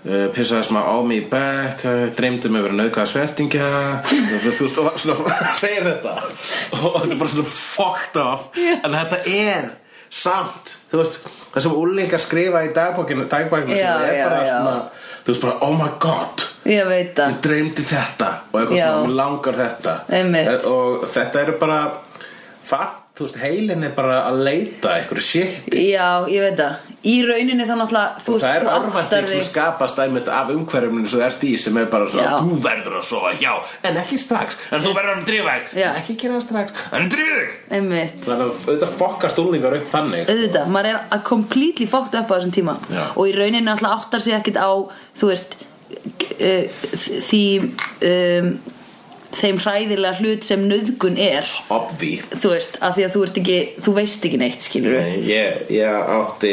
S1: uh, pissaði smá á mig í bekk uh, dreymdi mig verið nauðgæða svertingja
S2: <laughs>
S1: þú veist, þú veist, og svona <laughs> segir þetta og þetta er bara svona fucked up en þetta er samt, þú veist, það sem úlingar skrifa í dagbókinu, dagbókinu
S2: Já,
S1: er
S2: já,
S1: bara
S2: já.
S1: svona, þú veist bara, oh my god
S2: ég veit það
S1: Ég dreymdi þetta og eitthvað
S2: Já.
S1: svona, mér langar þetta Eh,
S2: Einmitt.
S1: og þetta eru bara fatt, þú veist, heilin er bara að leita einhverju shit
S2: Já, ég veit það Í rauninni þá náttúrulega þú veist,
S1: það er
S2: þú áttar
S1: örvænting sem
S2: þig-
S1: skapast einmitt af umhverfninu sem þú ert í sem er bara
S2: Já.
S1: svona, þú verður að sofa hjá en ekki strax, en þú verður að drífa þig
S2: Já.
S1: en ekki gera það strax, en drífa þig
S2: Einmitt
S1: það er að auðvitað fokka stúlningar upp þannig
S2: auðvitað, maður er að completely fucked up á þessum tíma
S1: Já.
S2: og í rauninni alltaf áttar sig ekkit á þú veist uh, því um, þeim hræðilega hlut sem nöðgun er
S1: obvi
S2: þú veist, af því að þú, ert ekki, þú veist ekki neitt skilur við
S1: Eh, ég, ég átti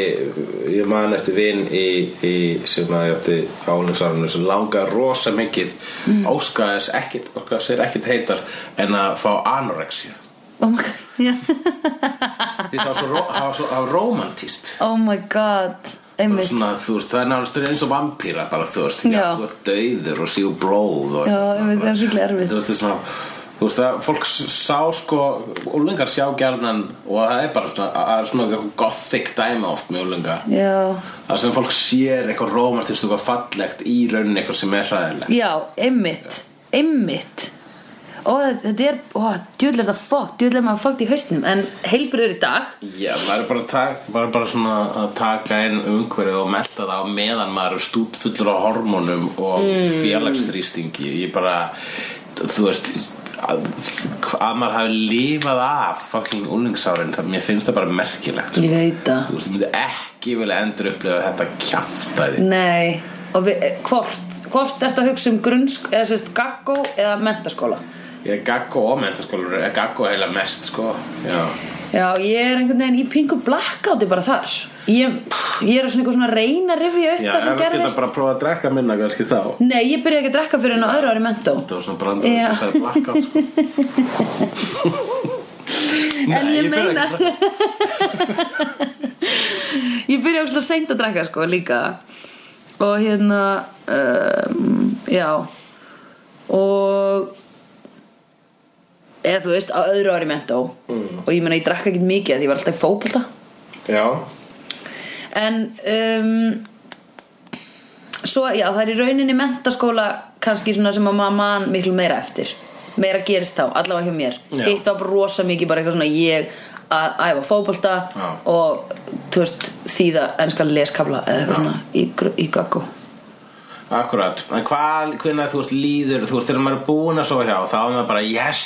S1: ég man eftir vin í, í sem að ég átti álingsarfinu sem langaði rosa mikið mm. óskaðis ekkit, okkar sér ekkit heitar en að fá anorexíu
S2: oh my god, <laughs> já.
S1: því það var svo, ró- það var svo, það var romantíst
S2: oh my god
S1: Bara
S2: einmitt,
S1: svona, þú veist, það er náttúrulega eins og vampýra bara, þú veist,
S2: Já.
S1: já, þú ert dauður og sígur blóð og
S2: Já, einmitt, það er svolítið erfitt.
S1: Þú veist, það er svona, þú veist, það, fólk s- sá sko, úlengar sjá gerðan og það er bara svona, það er svona eitthvað gothic dæmi oft með úlenga
S2: já
S1: það sem fólk sér eitthvað rómartist og eitthvað fallegt í rauninni eitthvað sem er hræðilegt
S2: já, einmitt, einmitt Ó, þetta er, ó, djúðlega þetta fokk, djúðlega maður fokkt í hausnum En heilbriður í dag
S1: Já, maður er bara, að taka, maður er bara svona að taka inn umhverfið og melta það á meðan maður er stútfullur á hormónum og
S2: Mm.
S1: félagsþrýstingi ég bara, þú veist að, að maður hafi lifað af fucking úlingsárin það mér finnst það bara merkilegt sko.
S2: Ég veit það
S1: þú veist, ég myndi ekki vilja endur upplifa þetta
S2: Mm.
S1: kjaftaði
S2: Nei, og við, eh, hvort, hvort ertu að hugsa um grunnsk, eða sérst gaggó eða mentaskóla?
S1: ég er gaggo og mentaskólar ég er gaggo heila mest, sko Já.
S2: Já, ég er einhvern veginn, ég pingu blackouti bara þar. Ég, pff, ég er svona einhver svona að reyna að rifja upp
S1: Já,
S2: það
S1: ef
S2: sem
S1: við geta
S2: gerðist.
S1: bara að prófa að drekka minna kannski þá
S2: Nei, ég byrja ekki að drekka fyrir enn á öðru ári mentó.
S1: Það var svona brandar
S2: Já.
S1: sem sagði blackout sko.
S2: <laughs> En ég
S1: byrjaði
S2: meina-
S1: ekki að-
S2: Ég byrja óslega seint að drekka sko líka. Og hérna, um, já, og eða þú veist, á öðru ári mentó. Mm. Og ég meina, ég drakka ekki mikið því ég var alltaf í fótbolta.
S1: Já,
S2: en um, svo já það er í rauninni mentaskóla kannski svona sem að maður man miklu meira eftir meira gerist þá, allavega hjá mér
S1: Já.
S2: hitt var bara rosa mikið bara eitthvað svona ég að æfa fótbolta
S1: Já.
S2: og þú veist, þýða ennska leskabla eða eitthvað svona í, gr- í gaggo
S1: akkurat En hvað, hvernig þú veist líður Þú veist, þegar maður er búin að sofa hjá Þá er maður bara, yes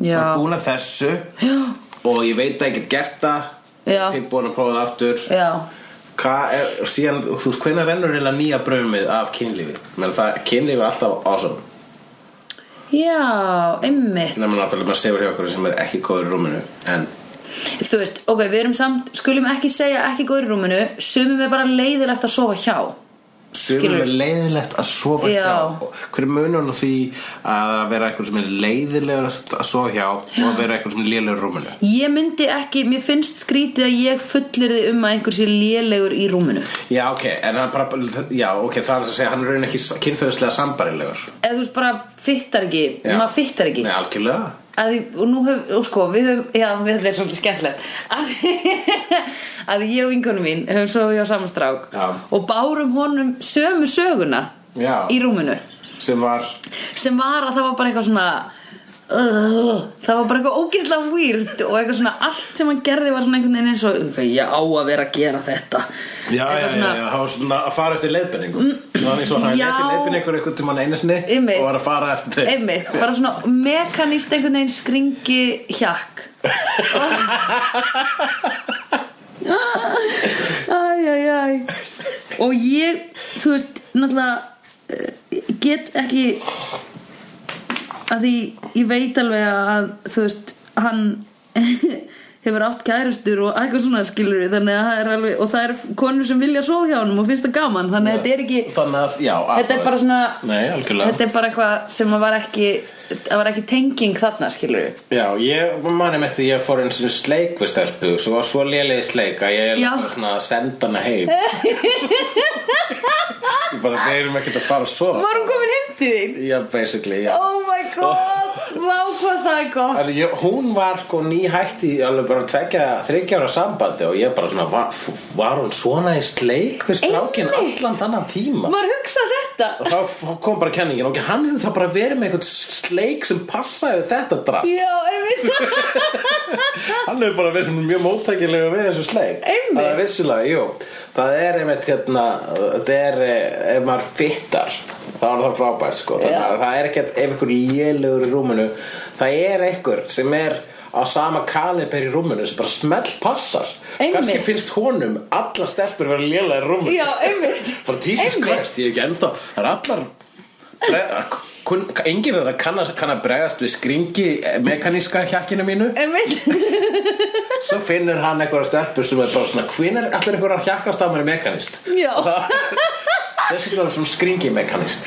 S2: Já.
S1: Maður er búin að þessu
S2: já,
S1: Og ég veit að ég get gert það
S2: Já.
S1: Tilbúin að prófa það aftur
S2: já,
S1: Hvað er, síðan, þú veist, hvenær rennur eiginlega nýja brömið af kynlífi? Menn það, kynlífi er alltaf awesome
S2: já einmitt
S1: Nefnum náttúrulega maður sefur hjá okkur sem er ekki góður í rúminu En,
S2: þú veist, ok, við erum samt skulum ekki segja ekki góður í rúminu sumum er bara leiðilegt að sofa hjá
S1: Sumum
S2: Skilur.
S1: er leiðilegt að sofa
S2: Já.
S1: hjá Hver er munun á því að vera eitthvað sem er leiðilegt að sofa hjá og að vera eitthvað sem er lélegur í rúminu
S2: ég myndi ekki, mér finnst skrítið að ég fullir þið um að einhver sé lélegur í rúminu
S1: Já, ok, en hann bara, já, ok, það er að segja hann er raun ekki kynferðislega sambarilegur
S2: eða þú veist bara fittar ekki
S1: Já.
S2: maður fittar ekki
S1: Nei, algjörlega
S2: að því, og nú hef, og sko, við höfum já, við höfum svolítið skemmtilegt að, að <laughs> ég og vinkunum mín höfum svo hjá saman strák
S1: Já.
S2: og bárum honum sömu söguna
S1: Já.
S2: í rúminu
S1: Sem var,
S2: sem var að það var bara eitthvað svona uh, það var bara eitthvað ógeðslega weird og eitthvað svona allt sem hann gerði var svona einhvern veginn eins og "Ok, ég á að vera að gera þetta
S1: já,
S2: Eitthvað Mm.
S1: já, já, já, það var svona að fara eftir leiðbenningum Það var eins og hann
S2: já.
S1: lesi leiðbenningur eitthvað til mann einu sinni
S2: Einmitt.
S1: og var að fara eftir þeim
S2: einmitt, bara svona mekaníst einhvern veginn skringi hjakk Æj, æj, æj Og ég, þú veist, náttúrulega eh, get ekki að því ég veit alveg að þú veist, hann <laughs> hefur átt kærustur og eitthvað svona skilur þannig að það er alveg, og það eru konur sem vilja sofa hjá honum og finnst það gaman þannig að þetta er ekki,
S1: Þannig að, já,
S2: þetta er bara svona
S1: Nei, algjörlega
S2: Þetta er bara eitthvað sem að var ekki það var ekki tenging þarna, skilur við
S1: Já, ég manum eftir að ég fór einu sinni í sleik við stelpu svo var svo lélegi sleik að ég
S2: Já.
S1: er bara svona að senda hana heim Ég bara, við erum ekkert að fara að sofa
S2: Var hún komin heim til þín?
S1: Já, basically, já
S2: Oh my god, vá hvað það er gott
S1: Þannig, ég, hún var sko nýhætt í alveg bara tvekja, þryggja ára sambandi og ég bara svona, var, f- var hún svona í sleik við strákin
S2: Einmitt.
S1: allan þannan tíma
S2: Var hugsað þetta?
S1: og þá f- kom bara kenningin og hann hefði það bara verið með einhvern sleik sem passaði við þetta drast
S2: Já, einmitt
S1: Hann hefur bara verið mjög móttækilega við þessu sleik
S2: Einmitt.
S1: Það er vissulega, jú Það er einmitt hérna Það er, eh, ef maður fittar þá er það frábært sko Þannig
S2: Já.
S1: að það er ekkert, ef ykkur lélegur í rúminu Það er einhver sem er á sama kaliber í rúminu sem bara smell passar
S2: Einmitt.
S1: Kannski finnst honum alla stelpur vera lélega í rúminu
S2: <laughs> Já, einmitt
S1: Bara Jesus
S2: Einmitt.
S1: Christ, ég er ekki ennþá Það er allar bre- kun, Engin þeirra kann að- kann að bregðast við skringi eh, mekaníska hjakkinu mínu
S2: Einmitt
S1: Svo finnur hann eitthvað stelpur sem er bara svona Hvinær allir eitthvað að hjakkast að mér mekanist
S2: Já,
S1: Þessi er svona skringi mekanist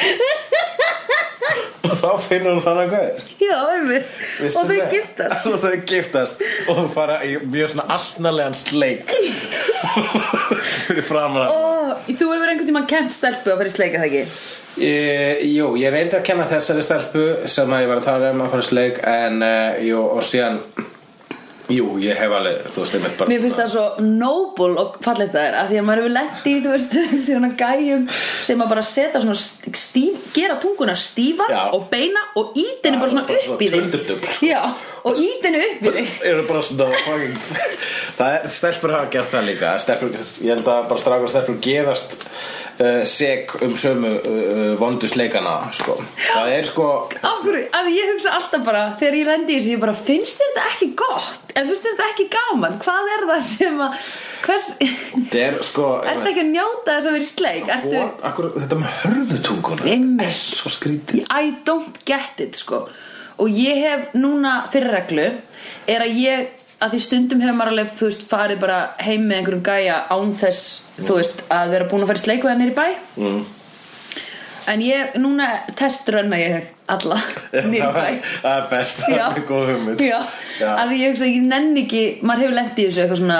S1: Og þá finnur hann þannig gauð
S2: já, einmitt Og þau giftast
S1: Svo þau giftast Og þau fara í mjög svona asnalegan sleik Fyrir framan hann
S2: Ó, Þú hefur einhvern tímann kent stelpu að fara í sleika það ekki?
S1: E, jú, ég reyndi að kenna þessari stelpu sem að ég var að tala um að fara í sleik en, e, jú, og síðan Jú, ég hef alveg, þú veist, einmitt bara
S2: Mér finnst það svo noble og fallegt það er að því að maður hefur lett í, þú veist, <laughs> svona gæjum sem að bara setja svona st- stíf, gera tunguna stífa
S1: Já.
S2: og beina og ít henni bara svona
S1: bara
S2: upp
S1: svona
S2: í þig
S1: tundurdufl, sko.
S2: Já, og ít henni upp í þig
S1: eru bara svona fucking það er, stelpur hafa gert það líka stelpur, ég held að bara strákur og stelpur gerast uh, seg um sömu uh, vondu sleikana sko. það er sko
S2: Okkur, að ég hugsa alltaf bara þegar ég lendi í þessu, ég bara finnst þér þetta ekki gott en finnst þér þetta ekki gaman, hvað er það sem að hvers, <laughs>
S1: þetta er sko
S2: ertu ekki að njóta þess að vera í sleik ertu,
S1: og, akkur, þetta með hörðutunguna
S2: Einmitt.
S1: er svo skrítið
S2: I don't get it sko og ég hef núna fyrir reglu er að ég að því stundum hefur maður alveg þú veist farið bara heim með einhverjum gæja án þess þú veist að vera búin að fara í sleik við hann er í bæ mm.
S1: Mhm.
S2: en ég núna teströnna ég alla nýri
S1: <laughs> það
S2: bæ
S1: það er best, það er góð hugmynd
S2: já,
S1: Já.
S2: að því ég hugsa ég nenni ekki maður hefur lent í þessu eitthvað svona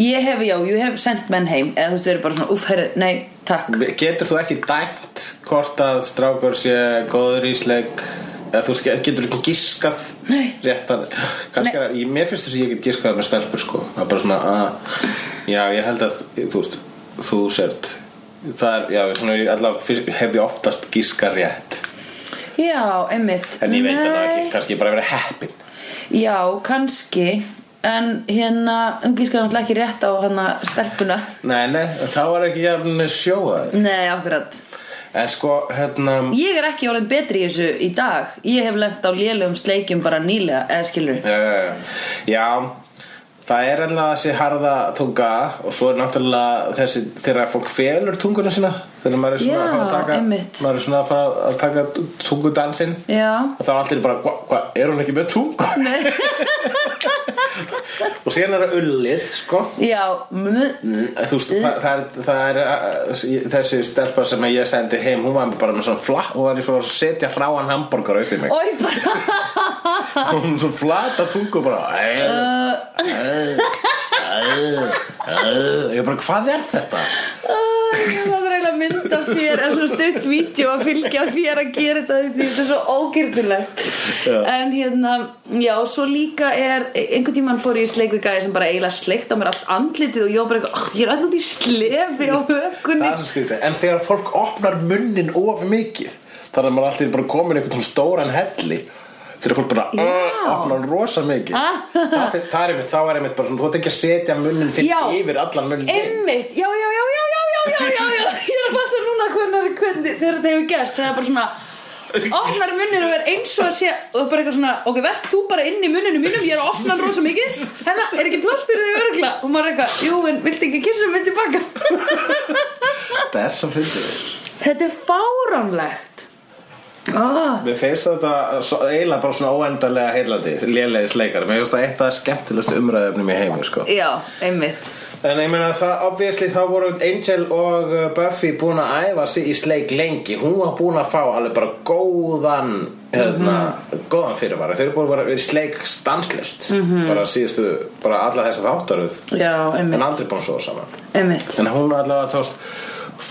S2: ég hef, já, ég hef sendt menn heim eða þú veist, verið bara svona, uff, herri, nei, takk
S1: Mm. Getur þú ekki dæmt hvort að strákur sé góður í sleik eða þú ske- getur ekki giskað
S2: Nei.
S1: rétt þannig kannski
S2: Nei.
S1: er ég, mér finnst þess að ég get giskað með stelpur sko það er bara svona að já ég held að þú veist þú sért það er já svona ég allavega fyrst- hef ég oftast giskað rétt
S2: Já, einmitt
S1: en ég veit það nú
S2: Nei.
S1: ekki kannski ég bara verið heppin
S2: Já, kannski En hérna, þú gískar náttúrulega ekki rétt á hana stelpuna
S1: nei nei þá er ekki jafn sjóað
S2: Nei, akkurat
S1: en sko hérna
S2: Ég er ekki orðin betri í þessu í dag Ég hef lent á lélugum sleikjum bara nýlega Eða skilur
S1: já, já, já. já það er alltaf þessi harða tunga og svo er náttúrulega þessi þegar fólk felur tunguna sína þegar maður er svona
S2: Já,
S1: að fara að taka
S2: einmitt.
S1: maður er svona að fara að taka tungudansin
S2: Já
S1: og þá er allir bara, hvað, hva, er hún ekki með tungu?
S2: Nei.
S1: <laughs> og síðan er það ullið, sko
S2: Já, mm,
S1: Þú veist, það, það er, það er uh, þessi stelpa sem ég sendi heim hún var bara með svona flat hún var í svona að setja hráan hambúrgar upp í mig
S2: oi bara
S1: hún svona flata tungu bara "Æ, æ, æ, æ." ég bara hvað er þetta
S2: Það er eiginlega mynd af þér en svona stutt vídeo að fylgja þér að gera þetta því þetta er svo ógirnilegt en hérna, já, svo líka er einhvern tímann fór ég í sleik við gæði sem bara eiginlega sleikt á mér allt andlitið og ég var bara eitthvað, "Ah, ég er alltaf út í slefi á
S1: það
S2: hökunni
S1: er svo skrítið en þegar fólk opnar munnin of mikið þannig að maður alltaf bara komin í einhvern svona stóran helli þegar fólk bara uh,
S2: Já. Ah.
S1: opnar hann rosa mikið það finn- það er einmitt, þá er einmitt bara svona þú ert ekki að setja munnin þinn
S2: Já.
S1: yfir allan munnin þinn.
S2: Einmitt, já, já, já, já, já, já, já, já, já Ég er að fatta núna hvernig, hvernig þegar þetta hefur gerst Það er bara svona Opnar munnir og er eins og að sé og bara eitthvað svona, ok, verð þú bara inn í munninu mínum ég er að opna hann rosa mikið hérna, er ekki pláss fyrir þig örgla og maður er eitthvað, jú, en viltu ekki kissa mig tilbaka
S1: þetta er svo fyndið
S2: <laughs> Þetta er fáránlegt oh,
S1: Mér finnst þetta svo- eiginlega bara svona óendanlega heillandi, lélegi sleikar Mér finnst það eitt af skemmtilegstu umræðefnum í heimi sko.
S2: Já, einmitt
S1: En ég meina það, obviously þá voru Angel og uh, Buffy búin að æfa sig í sleik lengi Hún var búin að fá alveg bara góðan, hérna,
S2: Mhm.
S1: góðan fyrirvara Þeir eru búin að vera í sleik stanslist -hmm. Bara síðustu, bara alla þessa þáttaröð
S2: Mhm. Já,
S1: En
S2: einmitt,
S1: aldrei búin að svo saman
S2: einmitt
S1: En hún allavega þóst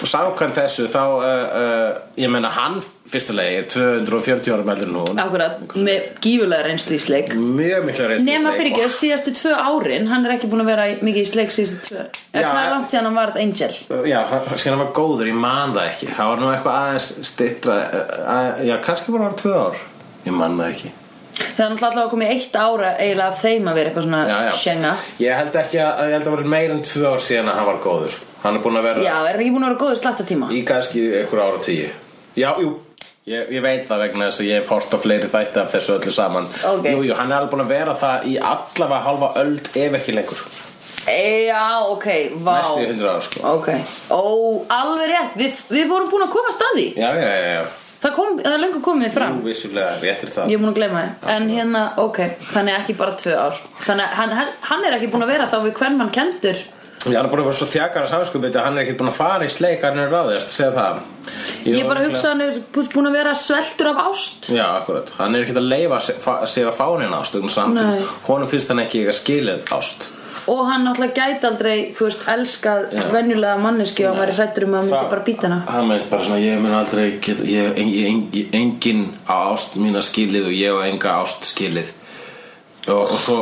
S1: Sákan þessu þá, uh, uh, ég meina hann fyrstulegi er 240 ára meldur en hún
S2: Akkurat, með gífulega reynslu í sleik
S1: mjög mikla reynslu
S2: Nefna fyrir ekki, síðastu tvö árin Hann er ekki búin að vera í- mikið í sleik síðastu tvö Er
S1: Já,
S2: hvað
S1: en-
S2: er langt síðan hann varð Angel?
S1: já, síðan hann var góður, ég man það ekki það var nú eitthvað aðeins stittra að, já, kannski bara var tvö ár ég man það ekki
S2: Það er náttúrulega alltaf komið eitt ára eiginlega af þeim að vera eitthvað svona
S1: já, já.
S2: sjenga
S1: ég held ekki að, ég held að vera meira en tvö ár síðan að hann var góður hann er búin að vera
S2: Já, er ekki búin að vera góður slattatíma
S1: í kannski einhver ára tíu já, jú Ég, ég veit það vegna þess að ég hef hort á fleiri þætti af þessu öllu saman
S2: Ok.
S1: Jú, jú, hann er alveg búin að vera það í allavega halva öld ef ekki lengur
S2: e, Já, ok, vá
S1: Næstu í 100 ára sko
S2: Ok, ó, alveg rétt Við, við vorum búin að koma staði
S1: Já, já, já, já,
S2: Það, kom, það er löngu komið fram
S1: þú vissulega réttir það
S2: Ég er búin að gleyma þið En hérna, ok, þannig ekki bara tvö ár Þannig að hann- hann, hann er ekki búin að vera þá við hvern mann kendur
S1: Já, hann er búin að vera svo þjakar að samskupið að hann er ekki búin að fara í sleik hann er ráðið, ertu að segja það?
S2: Ég, bara hugsa hann er búin að vera sveltur af ást
S1: Já, akkurat, hann er ekki að leifa sér, fa- sér að fá henni ást um
S2: Nei.
S1: samfél Honum finnst hann ekki eitthvað skilið ást
S2: Og hann náttúrulega gæti aldrei, þú veist, elskað
S1: Já.
S2: venjulega manneski og hann væri hrættur um að hann myndi bara býta hana
S1: Hann meint bara svona, ég mun aldrei get, ég, en, ég, en, ég engin á ást mína skilið og ég á enga ást skilið Og, og svo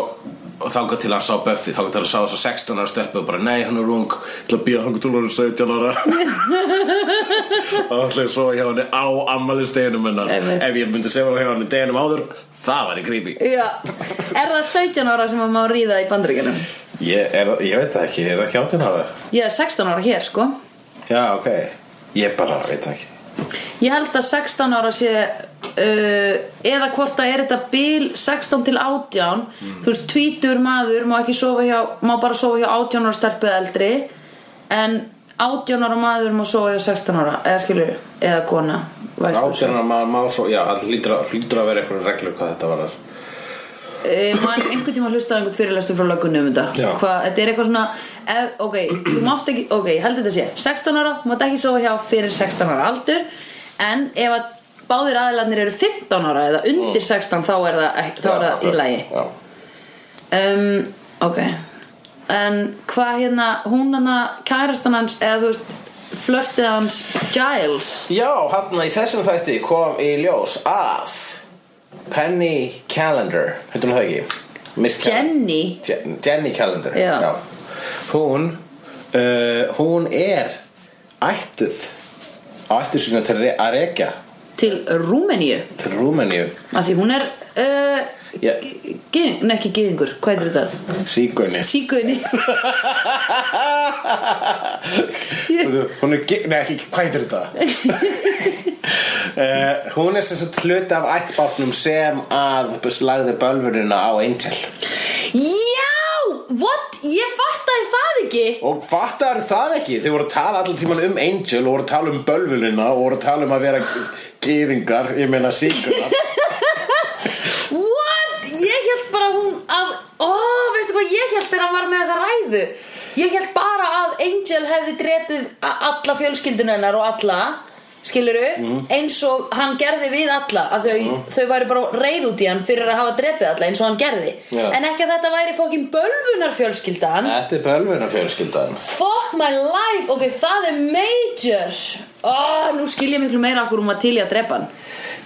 S1: og þangað til hann sá Buffy, þangað til hann sá þess að 16 ára stelpu og bara nei, hann er rung, ég ætla að býja þangað til hann er 17
S2: <laughs>
S1: ára og ætla ég svo hjá henni á ammælisteginum hennar
S2: Einmitt.
S1: ef ég myndi sefa hjá henni deginum áður það væri creepy
S2: Já, <laughs> er það 17 ára sem hann má ríða í bandaríkjunum?
S1: ég, er, ég veit það ekki, ég er ekki 18 ára
S2: Ég er 16 ára hér, sko
S1: já, ok, ég bara veit það ekki
S2: Ég held að 16 ára sé uh, eða hvort að er þetta bil 16 til 18 þú veist, tvítur maður má ekki sofa hjá, má bara sofa hjá 18 ára stelpuð eldri en 18 ára maður má sofa hjá 16 ára eða skilur, eða kona vice versa.
S1: 18 ára maður má svo, já, það hlýtur að, hlýtur að vera eitthvað reglur hvað þetta var
S2: Eh, maður einhvern tíma hlustaði á einhvern fyrirlestur frá löggunni um þetta
S1: Já.
S2: Hva, þetta er eitthvað svona ef, ok, þú mátt ekki, ok, ég held þetta sé 16 ára, þú mátt ekki sofa hjá fyrir 16 ára aldur en ef að báðir aðilarnir eru 15 ára eða undir 16 þá er það, ekki, þá er það í lagi
S1: Mm. já.
S2: um, ok en hvað hérna, hún hana kærastan hans eða þú veist flörtið hans Giles
S1: hérna já, hann í þessum þætti kom í ljós að Penny Calendar heitir hún það ekki? Miss Cal-
S2: Jenny
S1: Jen- Jenny Calendar
S2: Já.
S1: Hún uh, hún er ættuð á ættu sinna til Re- að rekja
S2: til Rúmeníu
S1: til Rúmeníu
S2: af því hún er uh,
S1: Já.
S2: gyðing, nei ekki gyðingur, hvað er þetta?
S1: Sígunni
S2: Sígunni
S1: Hún er, ge- nei ekki, hvað heitir þetta? <laughs> uh, hún er sem sagt hluti af ættbátnum sem að lagði bölvurina á Angel
S2: Já, what? Ég fattaði það ekki
S1: Og fattar það ekki? Þau voru að tala allan tíman um Angel og voru að tala um bölvulina og voru að tala um að vera geðingar, ég meina síkunar
S2: What? Ég held bara að hún að, ó, veistu hvað ég held þegar hann var með þessa ræðu Ég held bara að Angel hefði drepið a- alla fjölskyldun hennar og alla skiluru, eins og hann gerði við alla, að þau, þau væri bara reið út í hann fyrir að hafa drepið alla eins og hann gerði,
S1: Já.
S2: en ekki að þetta væri fókin bölvunar fjölskyldan
S1: Þetta er bölvuna fjölskyldan
S2: Fuck my life, ok, það er major oh, Nú skil ég miklu meira okkur um að til í að drepa hann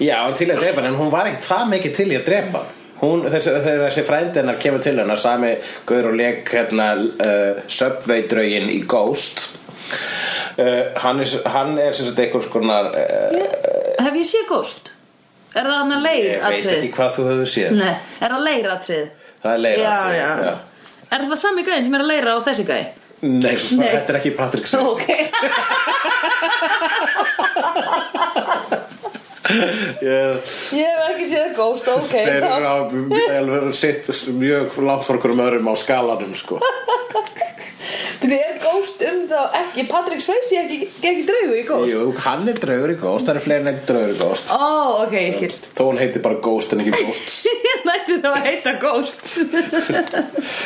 S1: Já, hún til í að drepa hann, en hún var ekkert það mikið til í að drepa hann Hún, þessi, þegar þessi frændi hennar kemur til hennar sami gaur og leik hérna uh, subveitraugin í Ghost uh, hann, er, hann er sem sagt einhvers konar uh,
S2: Hef ég séð góst? Er það hann að
S1: ég
S2: leir
S1: veit ekki hvað þú hefur séð
S2: Nei, er það leiratrið?
S1: það er leira
S2: Já, já. Er það sami gæðin sem er að leira á þessi gæði?
S1: Nei, svo,
S2: Nei.
S1: þetta er ekki Patrick Swayze
S2: Ok
S1: yeah.
S2: <laughs> Ég hef ekki séð góst, ok
S1: Þeir
S2: þá-
S1: eru á alveg sitt mjög langt fór hverjum öðrum á skalanum sko.
S2: Bíddu, Er góst um þá ekki Patrick Swayze ekki, ekki draugu í góst?
S1: Jú, hann er draugur í Ghost, það er fleiri en einn draugur í Ghost
S2: Ó, ok, ég skil
S1: Þó hann heiti bara Ghost en ekki Ghost
S2: <laughs> Ég læti þá að heita Ghost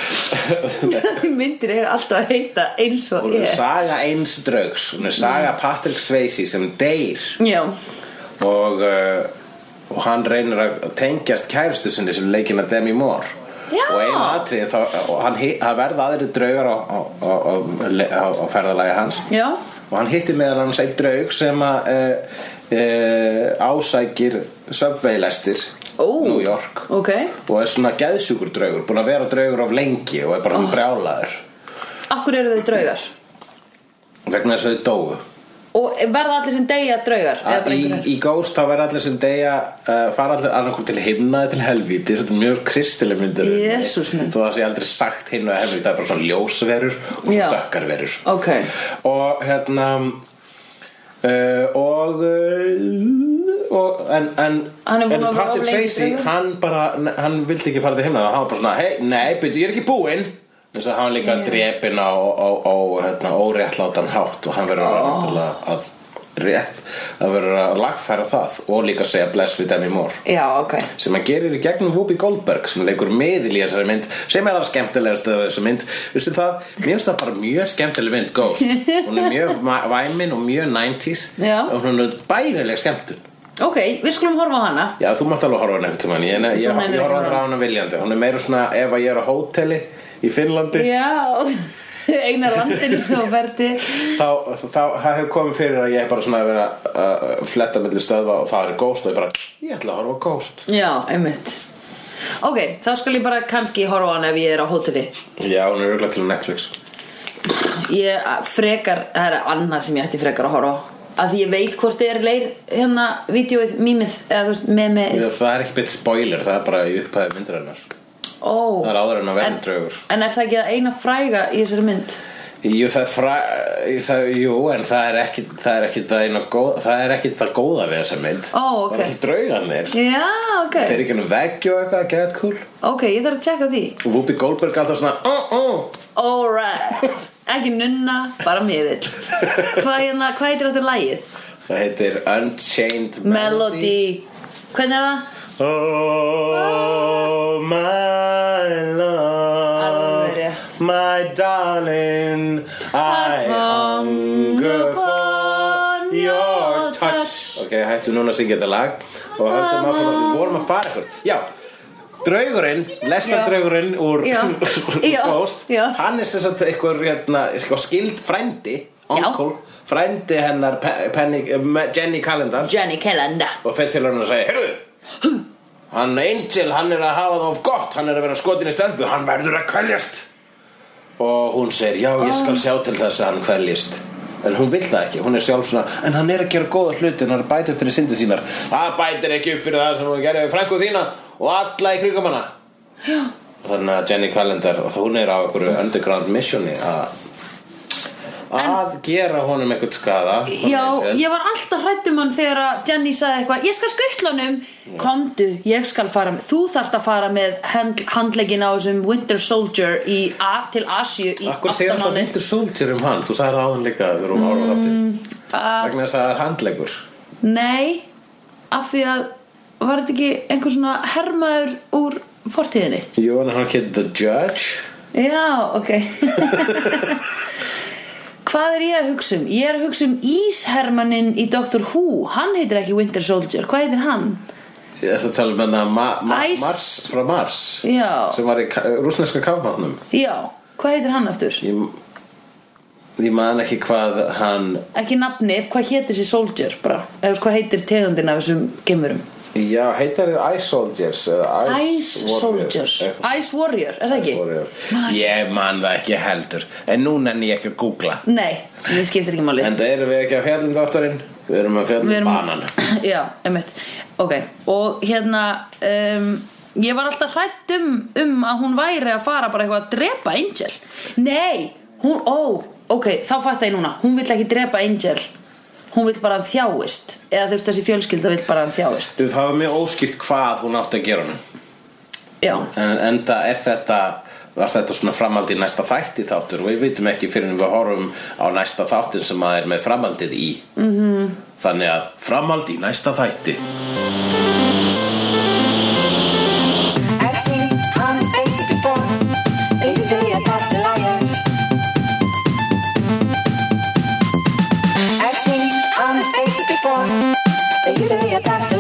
S2: <laughs> Myndir eiga alltaf að heita eins og
S1: Hún er
S2: ég Mm.
S1: saga eins draugs, hún er saga Patrick Swayze sem deyr
S2: Já,
S1: og, uh, og hann reynir að tengjast kærustu sinni sem leikina Demi Moore
S2: Já.
S1: og einu atrið þá, og hann, hi- það verða aðri draugar á, á, á, á, á, á ferðalagi hans
S2: já,
S1: og hann hitti meðal annars einn draug sem að uh, uh, ásækir subveilestir
S2: Ó.
S1: New York
S2: ok
S1: og er svona geðsjúkur draugur búin að vera draugur of lengi og er bara oh. brjálaður
S2: Akkur eru þau draugar?
S1: vegna þess að þau dóu
S2: Og verða allir sem deyja draugar? Eða bara
S1: í,
S2: einhverjar?
S1: í Ghost þá verða allir sem deyja uh, fara allir annarkur til himna eða til helvíti þetta er mjög kristileg myndir
S2: Jesús minn.
S1: þú það sé aldrei sagt himna og helvíti það er bara svona ljósverur
S2: Já.
S1: og svona dökkarverur
S2: Ok
S1: og hérna uh, og, uh, og en, en,
S2: Hann er búinn að
S1: en
S2: vera of
S1: Patrick
S2: lengi
S1: Swayze
S2: draugur.
S1: hann bara, hann vildi ekki fara til himna hann var bara svona, hei, nei, byrju, ég er ekki búinn þess að hann var líka drepinn á, á, á hérna, óréttlátan hátt og hann verður oh. náttúrulega að rétt að verður að lagfæra það og líka segja bless við Demi Moore
S2: Já, ok
S1: sem hann gerir í gegnum Whoopi Goldberg sem leikur miðil í þessari mynd sem er það skemmtilegast af þessari mynd veistu það, mér finnst það bara mjög skemmtileg mynd Ghost, hún er mjög ma- væmin og mjög 90s
S2: Já.
S1: og hún er bærileg skemmtun
S2: Ok, við skulum horfa á hana
S1: Já, þú mátt alveg horfa á hana einhvern tímann Ég, ég,
S2: Þú
S1: ég,
S2: nennir ekki að
S1: ég horfa aldrei á
S2: horfa.
S1: hana viljandi Hún er meira svona ef að ég er á hóteli í Finnlandi
S2: Já, <laughs> eina landinu sem þú ferdi
S1: þá, þá, þá það hefur komið fyrir að ég hef bara svona að vera að uh, fletta milli stöðva og það er Ghost og ég bara, ég ætla að horfa á Ghost
S2: Já, einmitt Ok, þá skal ég bara kannski horfa á hana ef ég er á hóteli
S1: Já, hún er auðvitað til á Netflix
S2: Ég frekar, það er annað sem ég ætti frekar að horfa á að því ég veit hvort þið er leir hérna vídeoið mýmið eða þú veist með með
S1: Já, Það er ekki beitt spoiler, það er bara í upphæði myndarinnar
S2: ó
S1: Það er áður en að verða
S2: En-
S1: draugur
S2: en er það ekki að eina fræga í þessari mynd
S1: Jú, það er fræ... Það, jú, en það er ekki það, er ekki það, eina góð, það er ekki það góða við þessa mynd
S2: Ó, ok.
S1: Það er allir draugarnir
S2: já ok
S1: Þeir eru ekki nú veggi og eitthvað að geða kúl
S2: ok ég þarf að tjekka á því
S1: Og Whoopi Goldberg alltaf svona oh, oh. <laughs>
S2: alright ekki nunna bara miðill hvað, hérna, hvað heitir þetta lagið
S1: Það heitir Unchained Melody,
S2: Melody Hvernig er það?
S1: Oh, my
S2: Alveg
S1: love
S2: rétt.
S1: My darling I hunger for your touch Ok, hættu núna að syngja þetta lag og höldum að fara, við vorum að fara eitthvað Já, draugurinn, lestardraugurinn úr <laughs>
S2: Já.
S1: úr
S2: Já.
S1: Ghost
S2: Já.
S1: hann er sem sagt eitthvað hérna, eitthvað skild frændi onkul, frændi hennar Pe- Penny, Jenny Calendar
S2: Jenny Calenda
S1: og fer til hennar og segir, heyrðu Hann Angel, hann er að hafa það of gott Hann er að vera skotin í stelpu, hann verður að kvæljast Og hún segir, já, ég skal sjá til þess að hann kvæljist En hún vill það ekki, hún er sjálf svona En hann er að gera góða hluti, hann er að bæta upp fyrir syndir sínar Það bætir ekki upp fyrir það sem hún gerði við frænku þína Og alla í krigum hana
S2: Já.
S1: Þannig að Jenny Calendar, hún er á einhverju underground missioni að að gera honum eitthvað skada hún
S2: Já,
S1: Angel.
S2: ég var alltaf hrædd um hann þegar að Jenny sagði eitthvað Ég skal skuttla honum Komdu, ég skal fara með Þú þarft að fara með hand, handlegin á þessum Winter Soldier í, a, til Asju í
S1: Akkur segir alltaf
S2: aftanáni
S1: Winter Soldier um hann Þú sagði það á hann líka þegar hún ára þáttu
S2: Mm,
S1: Vegna þess að það er handlegur
S2: Nei, af því að var þetta ekki einhver svona hermaður úr fortíðinni
S1: Jú, en hann hétt The Judge
S2: Já, ok <laughs> Hvað er ég að hugsa um? Ég er að hugsa um Íshermannin í Doctor Who Hann heitir ekki Winter Soldier, hvað heitir hann?
S1: Ég ætla að tala um hennar ma ma
S2: Ice-
S1: Mars frá Mars
S2: Já.
S1: Sem var í ka- rússneska kafmannum
S2: Já, hvað heitir hann aftur?
S1: Ég, ég man ekki hvað hann
S2: Ekki nafni, hvað heitir þessi Soldier bara Eða þú veist, hvað heitir tegundin af þessum gemurum?
S1: Já, heitar er Ice Soldiers eða
S2: Ice
S1: Warriors,
S2: Soldiers
S1: eitthvað.
S2: Ice Warrior, er það ekki?
S1: Ice Warrior. Ég man það ekki heldur En nú nenni ég ekki að googla
S2: Nei, ég skiptir ekki máli
S1: En það erum við ekki að fjallum dátturinn Við erum að um
S2: Við
S1: fjallum
S2: erum-
S1: banan
S2: <clears throat> Já, einmitt Ok, og hérna um, Ég var alltaf hrætt um, um að hún væri að fara bara eitthvað að drepa Angel Nei, hún, ó, ok, þá fætt ég núna Hún vill ekki drepa Angel Hún vill bara að hann þjáist Eða þú veist þessi fjölskylda vill bara að hann þjáist
S1: Þú hafa mjög óskipt hvað hún átti að gera honum
S2: Já,
S1: En enda er þetta var þetta svona framhald í næsta þætti þáttur og við vitum ekki fyrir en við horfum á næsta þáttin sem að er með framhaldið í mm -hmm. þannig að framhald í næsta þætti
S3: I've seen honest faces before. They usually are past the liars. I've seen honest faces before. They usually are past the